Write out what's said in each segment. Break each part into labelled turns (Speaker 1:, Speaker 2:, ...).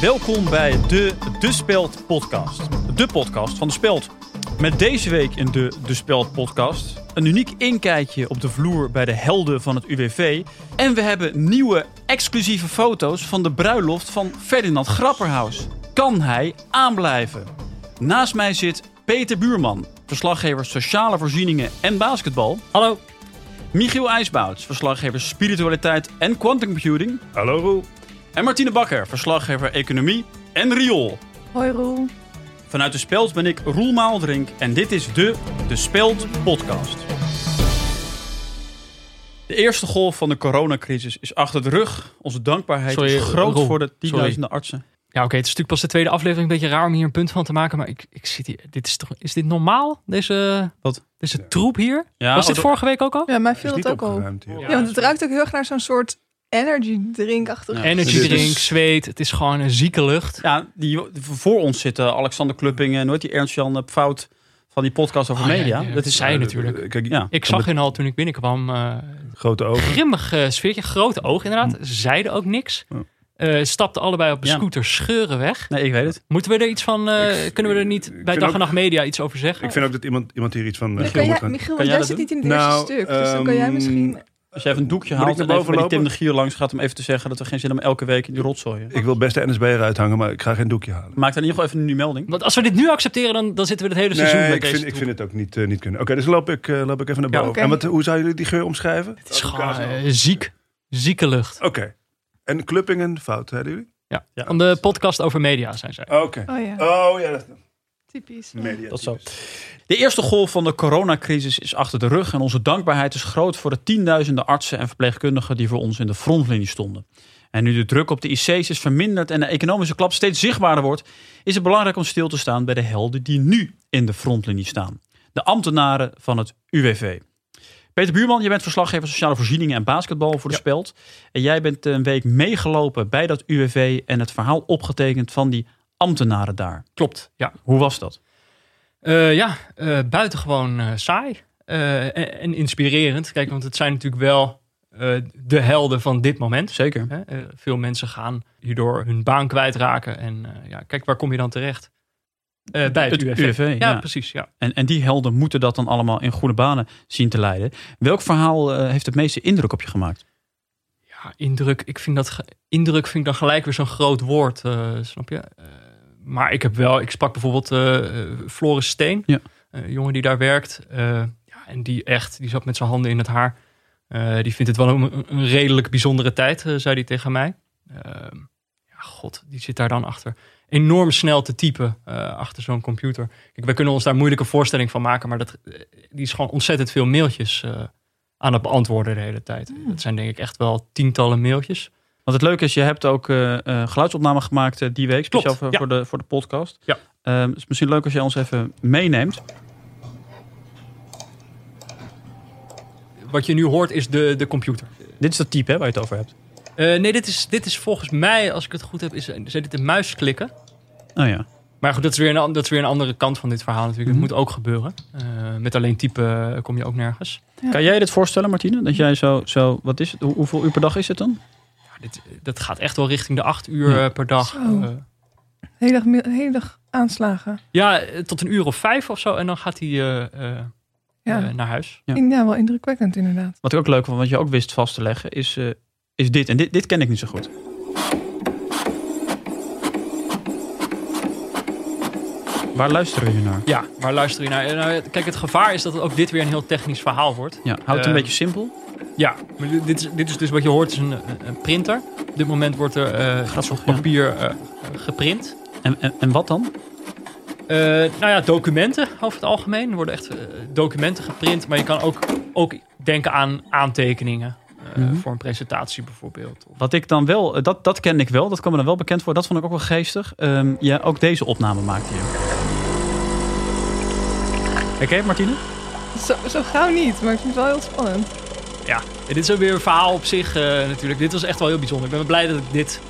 Speaker 1: Welkom bij de De Speld podcast. De podcast van De Speld. Met deze week in de De Speld podcast een uniek inkijkje op de vloer bij de helden van het UWV. En we hebben nieuwe exclusieve foto's van de bruiloft van Ferdinand Grapperhaus. Kan hij aanblijven? Naast mij zit Peter Buurman, verslaggever sociale voorzieningen en basketbal. Hallo. Michiel IJsbouts, verslaggever spiritualiteit en quantum computing.
Speaker 2: Hallo Roel.
Speaker 1: En Martine Bakker, verslaggever Economie en Riool.
Speaker 3: Hoi Roel.
Speaker 1: Vanuit de Speld ben ik Roel Maaldrink en dit is de De Speld podcast. De eerste golf van de coronacrisis is achter de rug. Onze dankbaarheid
Speaker 4: Sorry,
Speaker 1: is groot
Speaker 4: Roel.
Speaker 1: voor de
Speaker 4: Sorry.
Speaker 1: tienduizenden artsen.
Speaker 4: Ja, oké, het is natuurlijk pas de tweede aflevering. Een beetje raar om hier een punt van te maken. Maar ik, ik zit hier. Dit is, toch, is dit normaal? Deze,
Speaker 1: Wat?
Speaker 4: deze troep hier?
Speaker 1: Ja,
Speaker 4: Was dit
Speaker 1: oh,
Speaker 4: vorige week ook al?
Speaker 3: Ja, mij
Speaker 2: Is
Speaker 3: viel
Speaker 2: niet
Speaker 3: dat ook al.
Speaker 2: opgeruimd hier.
Speaker 3: Ja, want het ruikt ook heel erg naar zo'n soort energy drinkachtig.
Speaker 1: Ja.
Speaker 4: Energy
Speaker 2: Dit is-
Speaker 4: drink, zweet. Het is gewoon een zieke lucht.
Speaker 1: Ja, die, voor ons zitten Alexander Klupping en nooit die Ernst-Jan eh, Fout van die podcast over
Speaker 4: Oh, ja,
Speaker 1: media.
Speaker 4: ja,
Speaker 1: dat is
Speaker 4: zij
Speaker 2: Eh,
Speaker 4: natuurlijk.
Speaker 2: eh, Kijk,
Speaker 1: Ja.
Speaker 4: Ik
Speaker 2: Kan
Speaker 4: zag hun al toen ik binnenkwam. eh
Speaker 2: grote ogen.
Speaker 4: grimmig eh, sfeertje, grote ogen
Speaker 2: Mm.
Speaker 4: inderdaad. Ze Zeiden ook niks.
Speaker 2: Ja.
Speaker 4: Eh, stapten allebei op een
Speaker 1: Ja.
Speaker 4: scooter, scheuren weg.
Speaker 1: Nee, ik weet het.
Speaker 4: Moeten we er iets van. eh,
Speaker 2: Ik-
Speaker 4: kunnen we er
Speaker 2: ik
Speaker 4: niet bij
Speaker 2: vind
Speaker 4: dag
Speaker 2: ook-
Speaker 4: en nacht media iets over zeggen?
Speaker 2: Ik vind ook dat iemand, iemand hier iets van... eh,
Speaker 3: Dan
Speaker 2: Giel
Speaker 3: kan
Speaker 2: moet
Speaker 3: jij,
Speaker 2: gaan-
Speaker 1: Kan
Speaker 3: Michiel, want
Speaker 1: jij
Speaker 3: jij
Speaker 1: dat
Speaker 3: zit
Speaker 1: doen?
Speaker 3: niet in het
Speaker 2: Nou,
Speaker 3: eerste stuk. Dus dan kan jij
Speaker 2: ehm,
Speaker 3: misschien...
Speaker 1: Als je even een doekje
Speaker 2: Moet ik
Speaker 1: haalt
Speaker 2: naar
Speaker 1: en even
Speaker 2: boven
Speaker 1: bij die Tim de
Speaker 2: lopen?
Speaker 1: Gier langs gaat om even te zeggen dat we geen zin hebben om elke week in die rotzooien.
Speaker 2: Ik wil best de NSB eruit hangen, maar ik ga geen doekje halen.
Speaker 1: Maak dan in ieder geval even nu melding.
Speaker 4: Want als we dit nu accepteren, dan, dan zitten we het hele seizoen
Speaker 2: nee,
Speaker 4: bij
Speaker 2: ik
Speaker 4: deze
Speaker 2: vind, ik
Speaker 4: troep.
Speaker 2: vind het ook niet, eh, niet kunnen. Oké, dus loop ik, eh, loop ik even naar
Speaker 4: Ja,
Speaker 2: boven.
Speaker 3: oké.
Speaker 2: En wat, hoe zou jullie die geur omschrijven?
Speaker 4: Het is gewoon eh, ziek. Zieke lucht.
Speaker 2: Oké. En Kluppingen, fout, zeiden jullie?
Speaker 4: Ja,
Speaker 1: Ja.
Speaker 4: van de podcast over media zijn zij.
Speaker 2: Oké.
Speaker 3: Oh ja,
Speaker 2: Oh ja, dat
Speaker 3: typisch.
Speaker 2: media.
Speaker 1: Dat zo. De eerste golf van de coronacrisis is achter de rug en onze dankbaarheid is groot voor de tienduizenden artsen en verpleegkundigen die voor ons in de frontlinie stonden. En nu de druk op de IC's is verminderd en de economische klap steeds zichtbaarder wordt, is het belangrijk om stil te staan bij de helden die nu in de frontlinie staan. De ambtenaren van het UWV. Peter Buurman, je bent verslaggever sociale voorzieningen en basketbal voor de Speld. En jij bent een week meegelopen bij dat UWV en het verhaal opgetekend van die ambtenaren daar.
Speaker 4: Klopt, ja.
Speaker 1: Hoe was dat?
Speaker 4: Eh, ja, eh, buitengewoon eh, saai Eh, en, en inspirerend. Kijk, want het zijn natuurlijk wel eh, de helden van dit moment.
Speaker 1: Zeker.
Speaker 4: Hè? Eh, veel mensen gaan hierdoor hun baan kwijtraken. En eh, ja, kijk, waar kom je dan terecht? Eh, bij het, UWV. Ja,
Speaker 1: ja.
Speaker 4: precies. Ja.
Speaker 1: En, en die helden moeten dat dan allemaal in goede banen zien te leiden. Welk verhaal eh, heeft het meeste indruk op je gemaakt?
Speaker 4: ja, indruk. Ik vind dat ge- indruk vind ik dan gelijk weer zo'n groot woord, eh, snap je? Eh, maar ik heb wel, ik sprak bijvoorbeeld eh, eh, Floris Steen, eh,
Speaker 1: Ja.
Speaker 4: een jongen die daar werkt. eh, ja, en die echt, die zat met zijn handen in het haar. Eh, die vindt het wel een, een redelijk bijzondere tijd, eh, zei hij tegen mij. Ehm, ja, god, die zit daar dan achter. Enorm snel te typen eh, achter zo'n computer. Kijk, wij kunnen ons daar moeilijke voorstelling van maken, maar dat, eh, die is gewoon ontzettend veel mailtjes eh, aan het beantwoorden de hele tijd.
Speaker 3: Hmm.
Speaker 4: Dat zijn denk ik echt wel tientallen mailtjes.
Speaker 1: Want het leuke is, je hebt ook eh, eh, geluidsopnamen gemaakt eh, die week. Speciaal
Speaker 4: Klopt,
Speaker 1: voor,
Speaker 4: ja.
Speaker 1: voor, de, voor de podcast.
Speaker 4: Ja.
Speaker 1: Ehm, is misschien leuk als jij ons even meeneemt.
Speaker 4: Wat je nu hoort is de, de computer.
Speaker 1: Dit is dat type hè, waar je het over hebt.
Speaker 4: Eh, nee, dit is, dit is volgens mij, als ik het goed heb, is, zijn dit de muisklikken.
Speaker 1: Oh ja.
Speaker 4: Maar goed, dat is, weer een, an- dat is weer een andere kant van dit verhaal natuurlijk.
Speaker 3: Hmm.
Speaker 4: Dat moet ook gebeuren. Eh, met alleen typen eh, kom je ook nergens.
Speaker 1: Kan jij dit voorstellen, Martine? Dat jij zo, zo wat is het? Hoe- hoeveel uur per dag is het dan?
Speaker 4: Ja, dit, dat gaat echt wel richting de acht uur
Speaker 1: Ja.
Speaker 4: eh, per dag.
Speaker 3: Zo.
Speaker 4: Eh,
Speaker 3: Hele dag, mi- hele dag aanslagen.
Speaker 4: ja, eh, tot een uur of vijf of zo. En dan gaat hij eh, eh,
Speaker 3: Ja.
Speaker 4: eh, naar huis.
Speaker 1: ja.
Speaker 3: In- ja, wel indrukwekkend inderdaad.
Speaker 1: Wat ik ook leuk vond, wat je ook wist vast te leggen, is, eh, is dit. En dit, dit ken ik niet zo goed. Waar luisteren we nu naar?
Speaker 4: Ja, maar luister je naar. eh, nou, kijk, het gevaar is dat het ook dit weer een heel technisch verhaal wordt.
Speaker 1: Ja, houd het een
Speaker 4: Ehm,
Speaker 1: beetje simpel.
Speaker 4: Ja, maar dit- dit is, dit is dus wat je hoort, is een, een- een printer. Op dit moment wordt er eh
Speaker 1: Grappig,
Speaker 4: op
Speaker 1: ja.
Speaker 4: papier eh, geprint.
Speaker 1: En, en, en wat dan?
Speaker 4: Eh, nou ja, documenten over het algemeen. Er worden echt eh, documenten geprint. Maar je kan ook, ook denken aan aantekeningen. eh,
Speaker 1: Mhm.
Speaker 4: Voor een presentatie bijvoorbeeld. Of-
Speaker 1: Wat ik dan wel, eh, dat, dat ken ik wel, dat kwam me dan wel bekend voor. Dat vond ik ook wel geestig. Ehm, ja, ook deze opname maakte je. Herken je het, Martine?
Speaker 3: Zo, zo gauw niet, maar ik vind het wel heel spannend.
Speaker 4: Ja, en dit is ook weer een verhaal op zich eh, natuurlijk. Dit was echt wel heel bijzonder. Ik ben blij dat ik dit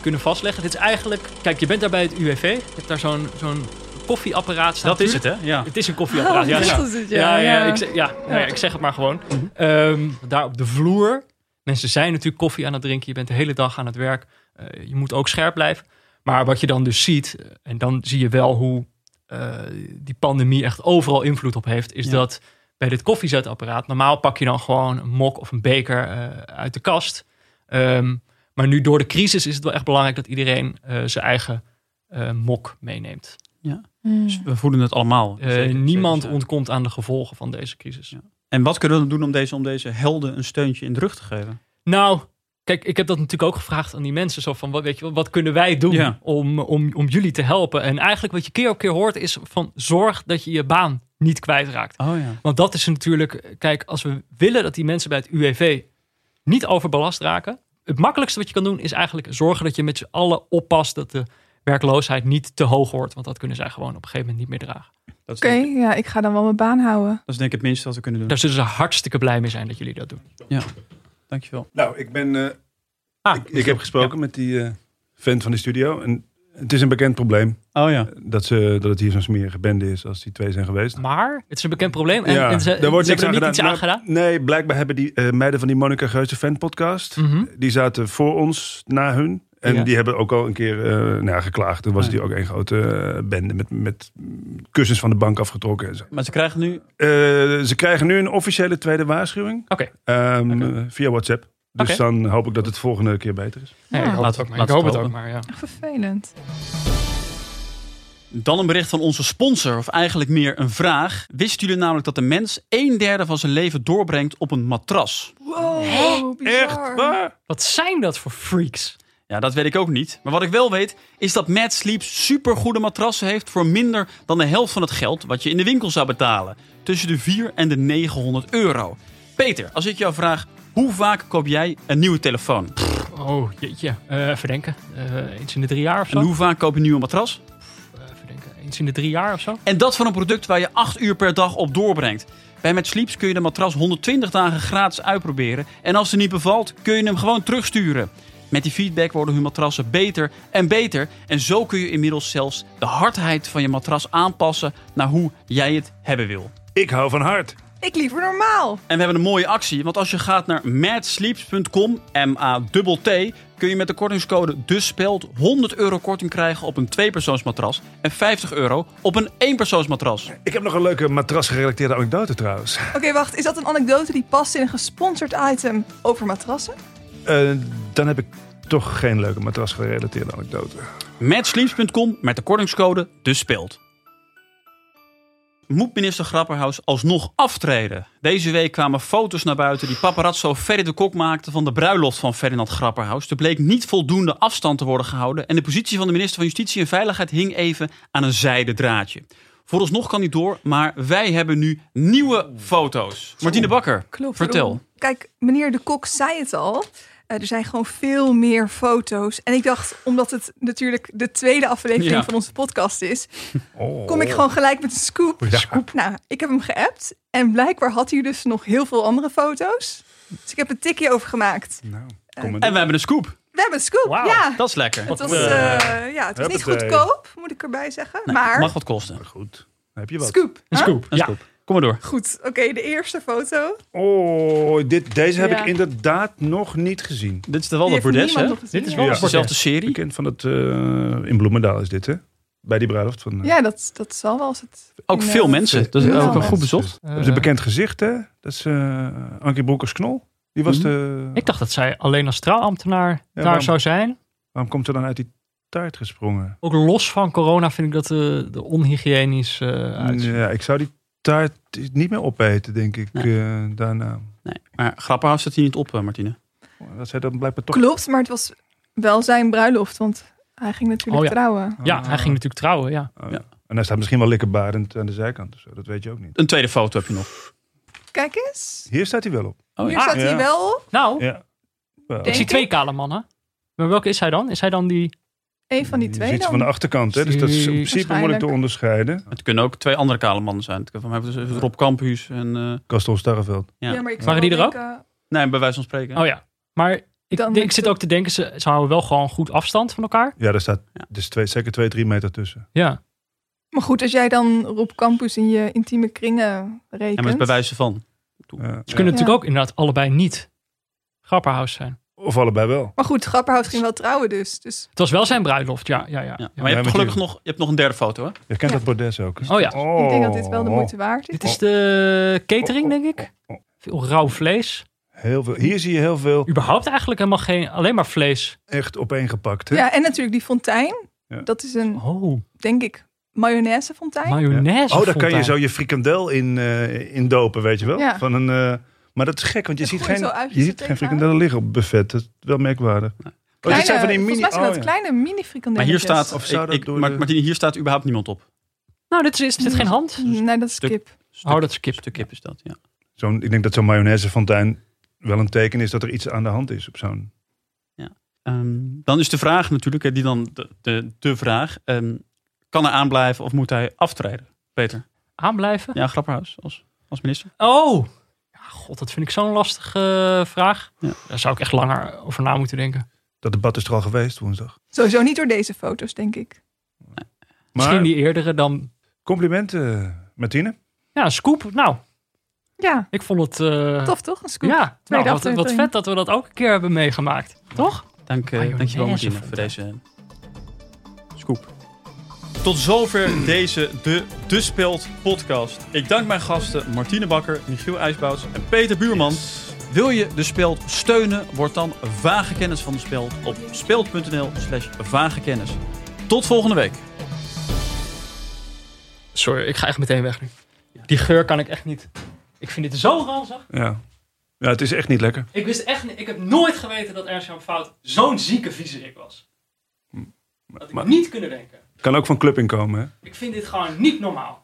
Speaker 4: kunnen vastleggen. Dit is eigenlijk... Kijk, je bent daar bij het UWV. Je hebt daar zo'n zo'n koffieapparaat staan.
Speaker 1: Dat is het, hè? Ja.
Speaker 4: Het is een koffieapparaat. ja,
Speaker 3: Oh, dat
Speaker 4: ja.
Speaker 3: is het,
Speaker 4: Ja, ja, Ik, zeg, ja, nou ja, ik zeg het maar gewoon. Ehm, daar op de vloer. Mensen zijn natuurlijk koffie aan het drinken. Je bent de hele dag aan het werk. Eh, je moet ook scherp blijven. Maar wat je dan dus ziet, eh, en dan zie je wel hoe eh, die pandemie echt overal invloed op heeft, is
Speaker 1: Ja.
Speaker 4: dat bij dit koffiezetapparaat, normaal pak je dan gewoon een mok of een beker eh, uit de kast. Ehm, maar nu door de crisis is het wel echt belangrijk dat iedereen eh, zijn eigen eh, mok meeneemt.
Speaker 1: Dus
Speaker 3: Hmm.
Speaker 1: we voelen het allemaal.
Speaker 4: Eh,
Speaker 1: Zeker,
Speaker 4: niemand
Speaker 1: zeker, zeker.
Speaker 4: ontkomt aan de gevolgen van deze crisis.
Speaker 1: Ja. En wat kunnen we doen om deze, om deze helden een steuntje in de rug te geven?
Speaker 4: Nou, kijk, ik heb dat natuurlijk ook gevraagd aan die mensen. Zo van, wat, weet je, wel, wat kunnen wij doen
Speaker 1: Ja.
Speaker 4: om, om, om jullie te helpen? En eigenlijk wat je keer op keer hoort is van zorg dat je je baan niet kwijtraakt.
Speaker 1: Oh ja.
Speaker 4: Want dat is natuurlijk, kijk, als we willen dat die mensen bij het UWV niet overbelast raken. Het makkelijkste wat je kan doen is eigenlijk zorgen dat je met z'n allen oppast dat de werkloosheid niet te hoog wordt. Want dat kunnen zij gewoon op een gegeven moment niet meer dragen.
Speaker 1: Dat is,
Speaker 3: Oké,
Speaker 1: denk,
Speaker 3: ja, ik ga dan wel mijn baan houden.
Speaker 1: dat is denk ik het minste wat we kunnen doen.
Speaker 4: Daar zullen ze hartstikke blij mee zijn dat jullie dat doen.
Speaker 1: Dankjewel.
Speaker 2: Nou, ik ben... eh,
Speaker 1: Ah,
Speaker 2: ik, ik heb gesproken met die eh, vent van de studio. En het is een bekend probleem eh,
Speaker 1: Oh ja.
Speaker 2: dat, ze, dat het hier zo'n smerige bende is als die twee zijn geweest.
Speaker 4: Maar het is een bekend probleem en,
Speaker 2: Ja,
Speaker 4: en ze,
Speaker 2: daar wordt
Speaker 4: ze
Speaker 2: niks
Speaker 4: hebben er
Speaker 2: aan Nou,
Speaker 4: niet iets aan gedaan.
Speaker 2: Nee, blijkbaar hebben die eh, meiden van die Monica Geuze fan podcast.
Speaker 4: Mhm.
Speaker 2: Die zaten voor ons, na hun. En
Speaker 1: Ja.
Speaker 2: die hebben ook al een keer eh, nou ja, geklaagd. Toen was
Speaker 1: Ja.
Speaker 2: die ook een grote eh, bende met, met kussens van de bank afgetrokken. En zo.
Speaker 1: Maar ze krijgen nu...
Speaker 2: Eh, ze krijgen nu een officiële tweede waarschuwing.
Speaker 4: Oké.
Speaker 2: Ehm,
Speaker 4: Oké.
Speaker 2: eh, Via WhatsApp. Dus
Speaker 4: Oké.
Speaker 2: dan hoop ik dat het volgende keer beter is.
Speaker 4: Nee, ik hoop
Speaker 1: Laat-
Speaker 4: het ook maar.
Speaker 1: laat
Speaker 4: Ik hoop
Speaker 1: het
Speaker 4: het ook
Speaker 1: hopen.
Speaker 4: maar, ja.
Speaker 3: Echt vervelend.
Speaker 1: Dan een bericht van onze sponsor, of eigenlijk meer een vraag. Wisten jullie namelijk dat de mens een derde van zijn leven doorbrengt op een matras?
Speaker 3: Wow, Oh, bizar.
Speaker 2: Echt waar?
Speaker 4: Wat zijn dat voor freaks?
Speaker 1: Ja, dat weet ik ook niet. Maar wat ik wel weet, is dat Mad Sleep supergoede matrassen heeft voor minder dan de helft van het geld wat je in de winkel zou betalen. Tussen de 4 en de 900 euro. Peter, als ik jou vraag, hoe vaak koop jij een nieuwe telefoon?
Speaker 4: Oh, jeetje. Eh even denken. Eh, eens in de drie jaar of zo.
Speaker 1: En hoe vaak koop je een nieuwe matras?
Speaker 4: Eh, even denken. Eens in de drie jaar of zo.
Speaker 1: En dat van een product waar je 8 uur per dag op doorbrengt. Bij Met Sleeps kun je de matras 120 dagen gratis uitproberen. En als het niet bevalt, kun je hem gewoon terugsturen. Met die feedback worden hun matrassen beter en beter. En zo kun je inmiddels zelfs de hardheid van je matras aanpassen naar hoe jij het hebben wil.
Speaker 2: Ik hou van hard.
Speaker 3: Ik liever normaal.
Speaker 1: En we hebben een mooie actie, want als je gaat naar madsleeps.com, M-A-T-T, kun je met de kortingscode DUSPELD 100 euro korting krijgen op een tweepersoonsmatras en 50 euro op een eenpersoonsmatras.
Speaker 2: Ik heb nog een leuke matras-gerelateerde anekdote trouwens.
Speaker 3: Oké, wacht. Is dat een anekdote die past in een gesponsord item over matrassen?
Speaker 2: Eh, dan heb ik toch geen leuke matras-gerelateerde anekdote.
Speaker 1: Matsleeps.com met de kortingscode dus speelt. Moet minister Grapperhaus alsnog aftreden? Deze week kwamen foto's naar buiten die paparazzo Ferry de Kok maakte van de bruiloft van Ferdinand Grapperhaus. Er bleek niet voldoende afstand te worden gehouden en de positie van de minister van Justitie en Veiligheid hing even aan een zijden draadje. Vooralsnog kan niet door, maar wij hebben nu nieuwe foto's. Martine Bakker,
Speaker 3: Klopt.
Speaker 1: vertel.
Speaker 3: Ron. Kijk, meneer de Kok zei het al. Eh, er zijn gewoon veel meer foto's. En ik dacht, omdat het natuurlijk de tweede aflevering
Speaker 1: Ja.
Speaker 3: van onze podcast is,
Speaker 2: Oh.
Speaker 3: kom ik gewoon gelijk met een scoop.
Speaker 2: Ja. Scoop.
Speaker 3: Nou, ik heb hem geappt. En blijkbaar had hij dus nog heel veel andere foto's. Dus ik heb een tikje over gemaakt.
Speaker 2: Nou, kom maar
Speaker 1: En we hebben een scoop.
Speaker 3: We hebben een scoop.
Speaker 4: Wauw.
Speaker 3: Ja,
Speaker 1: Dat is lekker.
Speaker 3: het was,
Speaker 2: eh,
Speaker 3: eh, ja, het was niet
Speaker 2: huppatee.
Speaker 3: goedkoop, moet ik erbij zeggen.
Speaker 1: Nee,
Speaker 3: maar
Speaker 1: Nou, Mag wat kosten.
Speaker 2: door. Goed. Dan heb je wat.
Speaker 3: scoop.
Speaker 4: Een
Speaker 3: hè?
Speaker 4: scoop.
Speaker 1: Een
Speaker 4: ja.
Speaker 1: scoop. Kom maar door.
Speaker 3: Goed, oké, de eerste foto.
Speaker 2: Oh, dit, deze heb
Speaker 3: Ja.
Speaker 2: ik inderdaad nog niet gezien.
Speaker 1: Dit is de wel
Speaker 3: Die
Speaker 1: de
Speaker 3: heeft
Speaker 1: bordes, hè? Het
Speaker 3: niemand nog gezien,
Speaker 4: Dit is
Speaker 3: ja.
Speaker 4: wel
Speaker 2: Ja.
Speaker 4: een
Speaker 1: is dezelfde
Speaker 4: bordes.
Speaker 1: serie.
Speaker 2: Bekend van het... eh, in Bloemendaal is dit, hè? Bij die bruiloft van... eh,
Speaker 3: Ja, dat, dat zal wel als het...
Speaker 1: Ook
Speaker 3: Nee.
Speaker 1: veel mensen. Dat is
Speaker 3: Ja.
Speaker 1: ook wel goed bezocht.
Speaker 4: Eh,
Speaker 2: Dat is een bekend gezicht, hè? Dat is eh Ankie Broekers-Knol. Die was
Speaker 1: Mhm.
Speaker 2: de...
Speaker 4: Ik dacht dat zij alleen als trouwambtenaar daar
Speaker 2: waarom?
Speaker 4: zou zijn.
Speaker 2: Waarom komt ze dan uit die taart gesprongen?
Speaker 4: Ook los van corona vind ik dat eh, de onhygiënisch eh uitziet.
Speaker 2: Ja, ik zou die taart niet meer opeten, denk ik,
Speaker 1: Nee.
Speaker 2: eh, daarna.
Speaker 1: Nee, maar Grapperhaus zit hier niet op, eh, Martine.
Speaker 2: Oh, Dat zij dan blijkbaar toch...
Speaker 3: Klopt, maar het was wel zijn bruiloft, want hij ging natuurlijk
Speaker 4: Oh ja.
Speaker 3: trouwen.
Speaker 4: Ja,
Speaker 2: Ah.
Speaker 4: hij ging natuurlijk trouwen, ja.
Speaker 2: Oh,
Speaker 1: Ja.
Speaker 2: ja. En hij staat misschien wel likkerbarend aan de zijkant. of zo. Dat weet je ook niet.
Speaker 1: Een tweede foto heb je nog.
Speaker 3: Kijk eens.
Speaker 2: Hier staat hij wel op.
Speaker 1: Oh,
Speaker 3: Hier
Speaker 1: ja.
Speaker 3: staat
Speaker 2: Ah, Ja.
Speaker 3: hij wel op.
Speaker 4: Ah, Nou,
Speaker 2: Ja. Wel.
Speaker 4: ik
Speaker 3: Denk
Speaker 4: zie
Speaker 3: ik.
Speaker 4: twee kale mannen. Maar welke is hij dan? Is hij dan die...
Speaker 3: Een van die
Speaker 2: Je
Speaker 3: twee
Speaker 2: ziet ze
Speaker 3: dan.
Speaker 2: van de achterkant, hè? Dus dat is in principe moeilijk te
Speaker 3: Waarschijnlijk.
Speaker 2: onderscheiden.
Speaker 1: Het kunnen ook twee andere kale mannen zijn. Het kan Van mij dus Rob Campus en... eh,
Speaker 2: Kastel Starreveld.
Speaker 1: ja.
Speaker 3: maar ik
Speaker 4: Waren
Speaker 3: zou
Speaker 4: die
Speaker 3: wel
Speaker 4: er
Speaker 3: denken,
Speaker 1: Nee, bij wijze van spreken.
Speaker 4: Oh ja. Maar ik,
Speaker 3: Dan
Speaker 4: denk-
Speaker 3: met
Speaker 4: ik zit
Speaker 3: de-
Speaker 4: ook te denken, ze, ze houden wel gewoon goed afstand van elkaar.
Speaker 2: Ja, daar staat
Speaker 1: Ja.
Speaker 2: dus twee, zeker twee, drie meter tussen.
Speaker 4: Ja.
Speaker 3: Maar goed, als jij dan Rob Campus in je intieme kringen rekent.
Speaker 1: En met bij wijze van.
Speaker 2: Ja.
Speaker 4: Ze kunnen
Speaker 3: Ja.
Speaker 4: natuurlijk ook inderdaad allebei niet Grapperhaus zijn.
Speaker 2: Of allebei wel.
Speaker 3: Maar goed, Grapper houdt ging wel trouwen dus. dus
Speaker 4: Het was wel zijn bruiloft, ja. ja, ja.
Speaker 1: Ja, maar
Speaker 4: Ja.
Speaker 1: je
Speaker 2: Ja,
Speaker 1: hebt
Speaker 2: met
Speaker 1: gelukkig
Speaker 2: die-
Speaker 1: nog, je hebt nog een derde foto, hè?
Speaker 2: Je kent
Speaker 3: Ja.
Speaker 2: dat bordes ook.
Speaker 4: Oh ja.
Speaker 3: ik denk dat dit wel de
Speaker 2: Oh.
Speaker 3: moeite waard is.
Speaker 4: Dit is de catering, denk ik. Veel rauw vlees.
Speaker 2: Heel veel. Hier zie je heel veel
Speaker 4: Überhaupt eigenlijk helemaal geen, alleen maar vlees.
Speaker 2: echt opeengepakt. Hè?
Speaker 3: Ja, en natuurlijk die fontein.
Speaker 2: Ja.
Speaker 3: Dat is een,
Speaker 4: Oh,
Speaker 3: denk ik, mayonaise fontein.
Speaker 4: mayonaise.
Speaker 2: Oh, daar kan je
Speaker 4: fontein.
Speaker 2: zo je frikandel in, eh, in dopen, weet je wel.
Speaker 3: Ja.
Speaker 2: Van een, eh, maar dat is gek, want je
Speaker 3: Dat
Speaker 2: ziet
Speaker 3: gooi
Speaker 2: geen,
Speaker 3: je zo uit, je
Speaker 2: je
Speaker 3: zit
Speaker 2: ziet geen
Speaker 3: tegenaan.
Speaker 2: frikandellen liggen op buffet. Dat is wel merkwaardig. oh,
Speaker 3: Kleine,
Speaker 2: dit zijn van die mini...
Speaker 3: volgens mij zijn dat
Speaker 2: oh, ja.
Speaker 3: kleine mini
Speaker 1: Maar hier staat,
Speaker 2: Of zou
Speaker 1: ik,
Speaker 2: dat
Speaker 1: ik-
Speaker 2: door
Speaker 1: maar,
Speaker 2: de-
Speaker 1: Martine, hier staat überhaupt niemand op.
Speaker 4: Nou, dit is, is dit geen hand?
Speaker 3: Nee, dat is
Speaker 1: Stuk.
Speaker 3: kip.
Speaker 1: Stuk,
Speaker 4: Oh, dat is kip.
Speaker 1: stuk kip is dat, ja.
Speaker 2: Zo'n, ik denk dat zo'n mayonaisefontein wel een teken is dat er iets aan de hand is op zo'n...
Speaker 1: Ehm, dan is de vraag natuurlijk, hè, die dan de, de, de vraag, ehm, kan hij aanblijven of moet hij aftreden? Peter.
Speaker 4: Aanblijven?
Speaker 1: Ja, Grapperhaus als, als minister.
Speaker 4: Oh! Ja, god, dat vind ik zo'n lastige eh, vraag.
Speaker 1: Ja.
Speaker 4: Daar zou ik echt langer over na moeten denken.
Speaker 2: Dat debat is er al geweest woensdag.
Speaker 3: Sowieso niet door deze foto's, denk ik.
Speaker 2: Maar
Speaker 4: Misschien die eerdere dan...
Speaker 2: complimenten, Martine.
Speaker 4: Ja, een scoop. Nou,
Speaker 3: Ja,
Speaker 4: ik vond het... eh,
Speaker 3: tof toch? Een scoop.
Speaker 4: Ja, nou,
Speaker 3: Tweede
Speaker 4: wat, wat
Speaker 3: aflevering.
Speaker 4: vet dat we dat ook een keer hebben meegemaakt. Toch?
Speaker 1: Dank, eh,
Speaker 4: Mayonaise
Speaker 1: dankjewel Martine voor deze eh, scoop. Tot zover deze De, de Speld podcast. Ik dank mijn gasten Martine Bakker, Michiel IJsbouts en Peter Buurman. Wil je De Speld steunen? Word dan vage kennis van De Speld op speld.nl slash vage kennis. Tot volgende week.
Speaker 4: Sorry, ik ga echt meteen weg nu. Die geur kan ik echt niet. Ik vind dit zo ranzig.
Speaker 2: Ja. ja, het is echt niet lekker.
Speaker 4: Ik wist echt niet, ik heb nooit geweten dat Ernst Jan Fout zo'n zieke viezerik was. Dat had ik
Speaker 2: Maar-
Speaker 4: niet kunnen denken.
Speaker 2: Kan ook van club inkomen, hè?
Speaker 4: Ik vind dit gewoon niet normaal.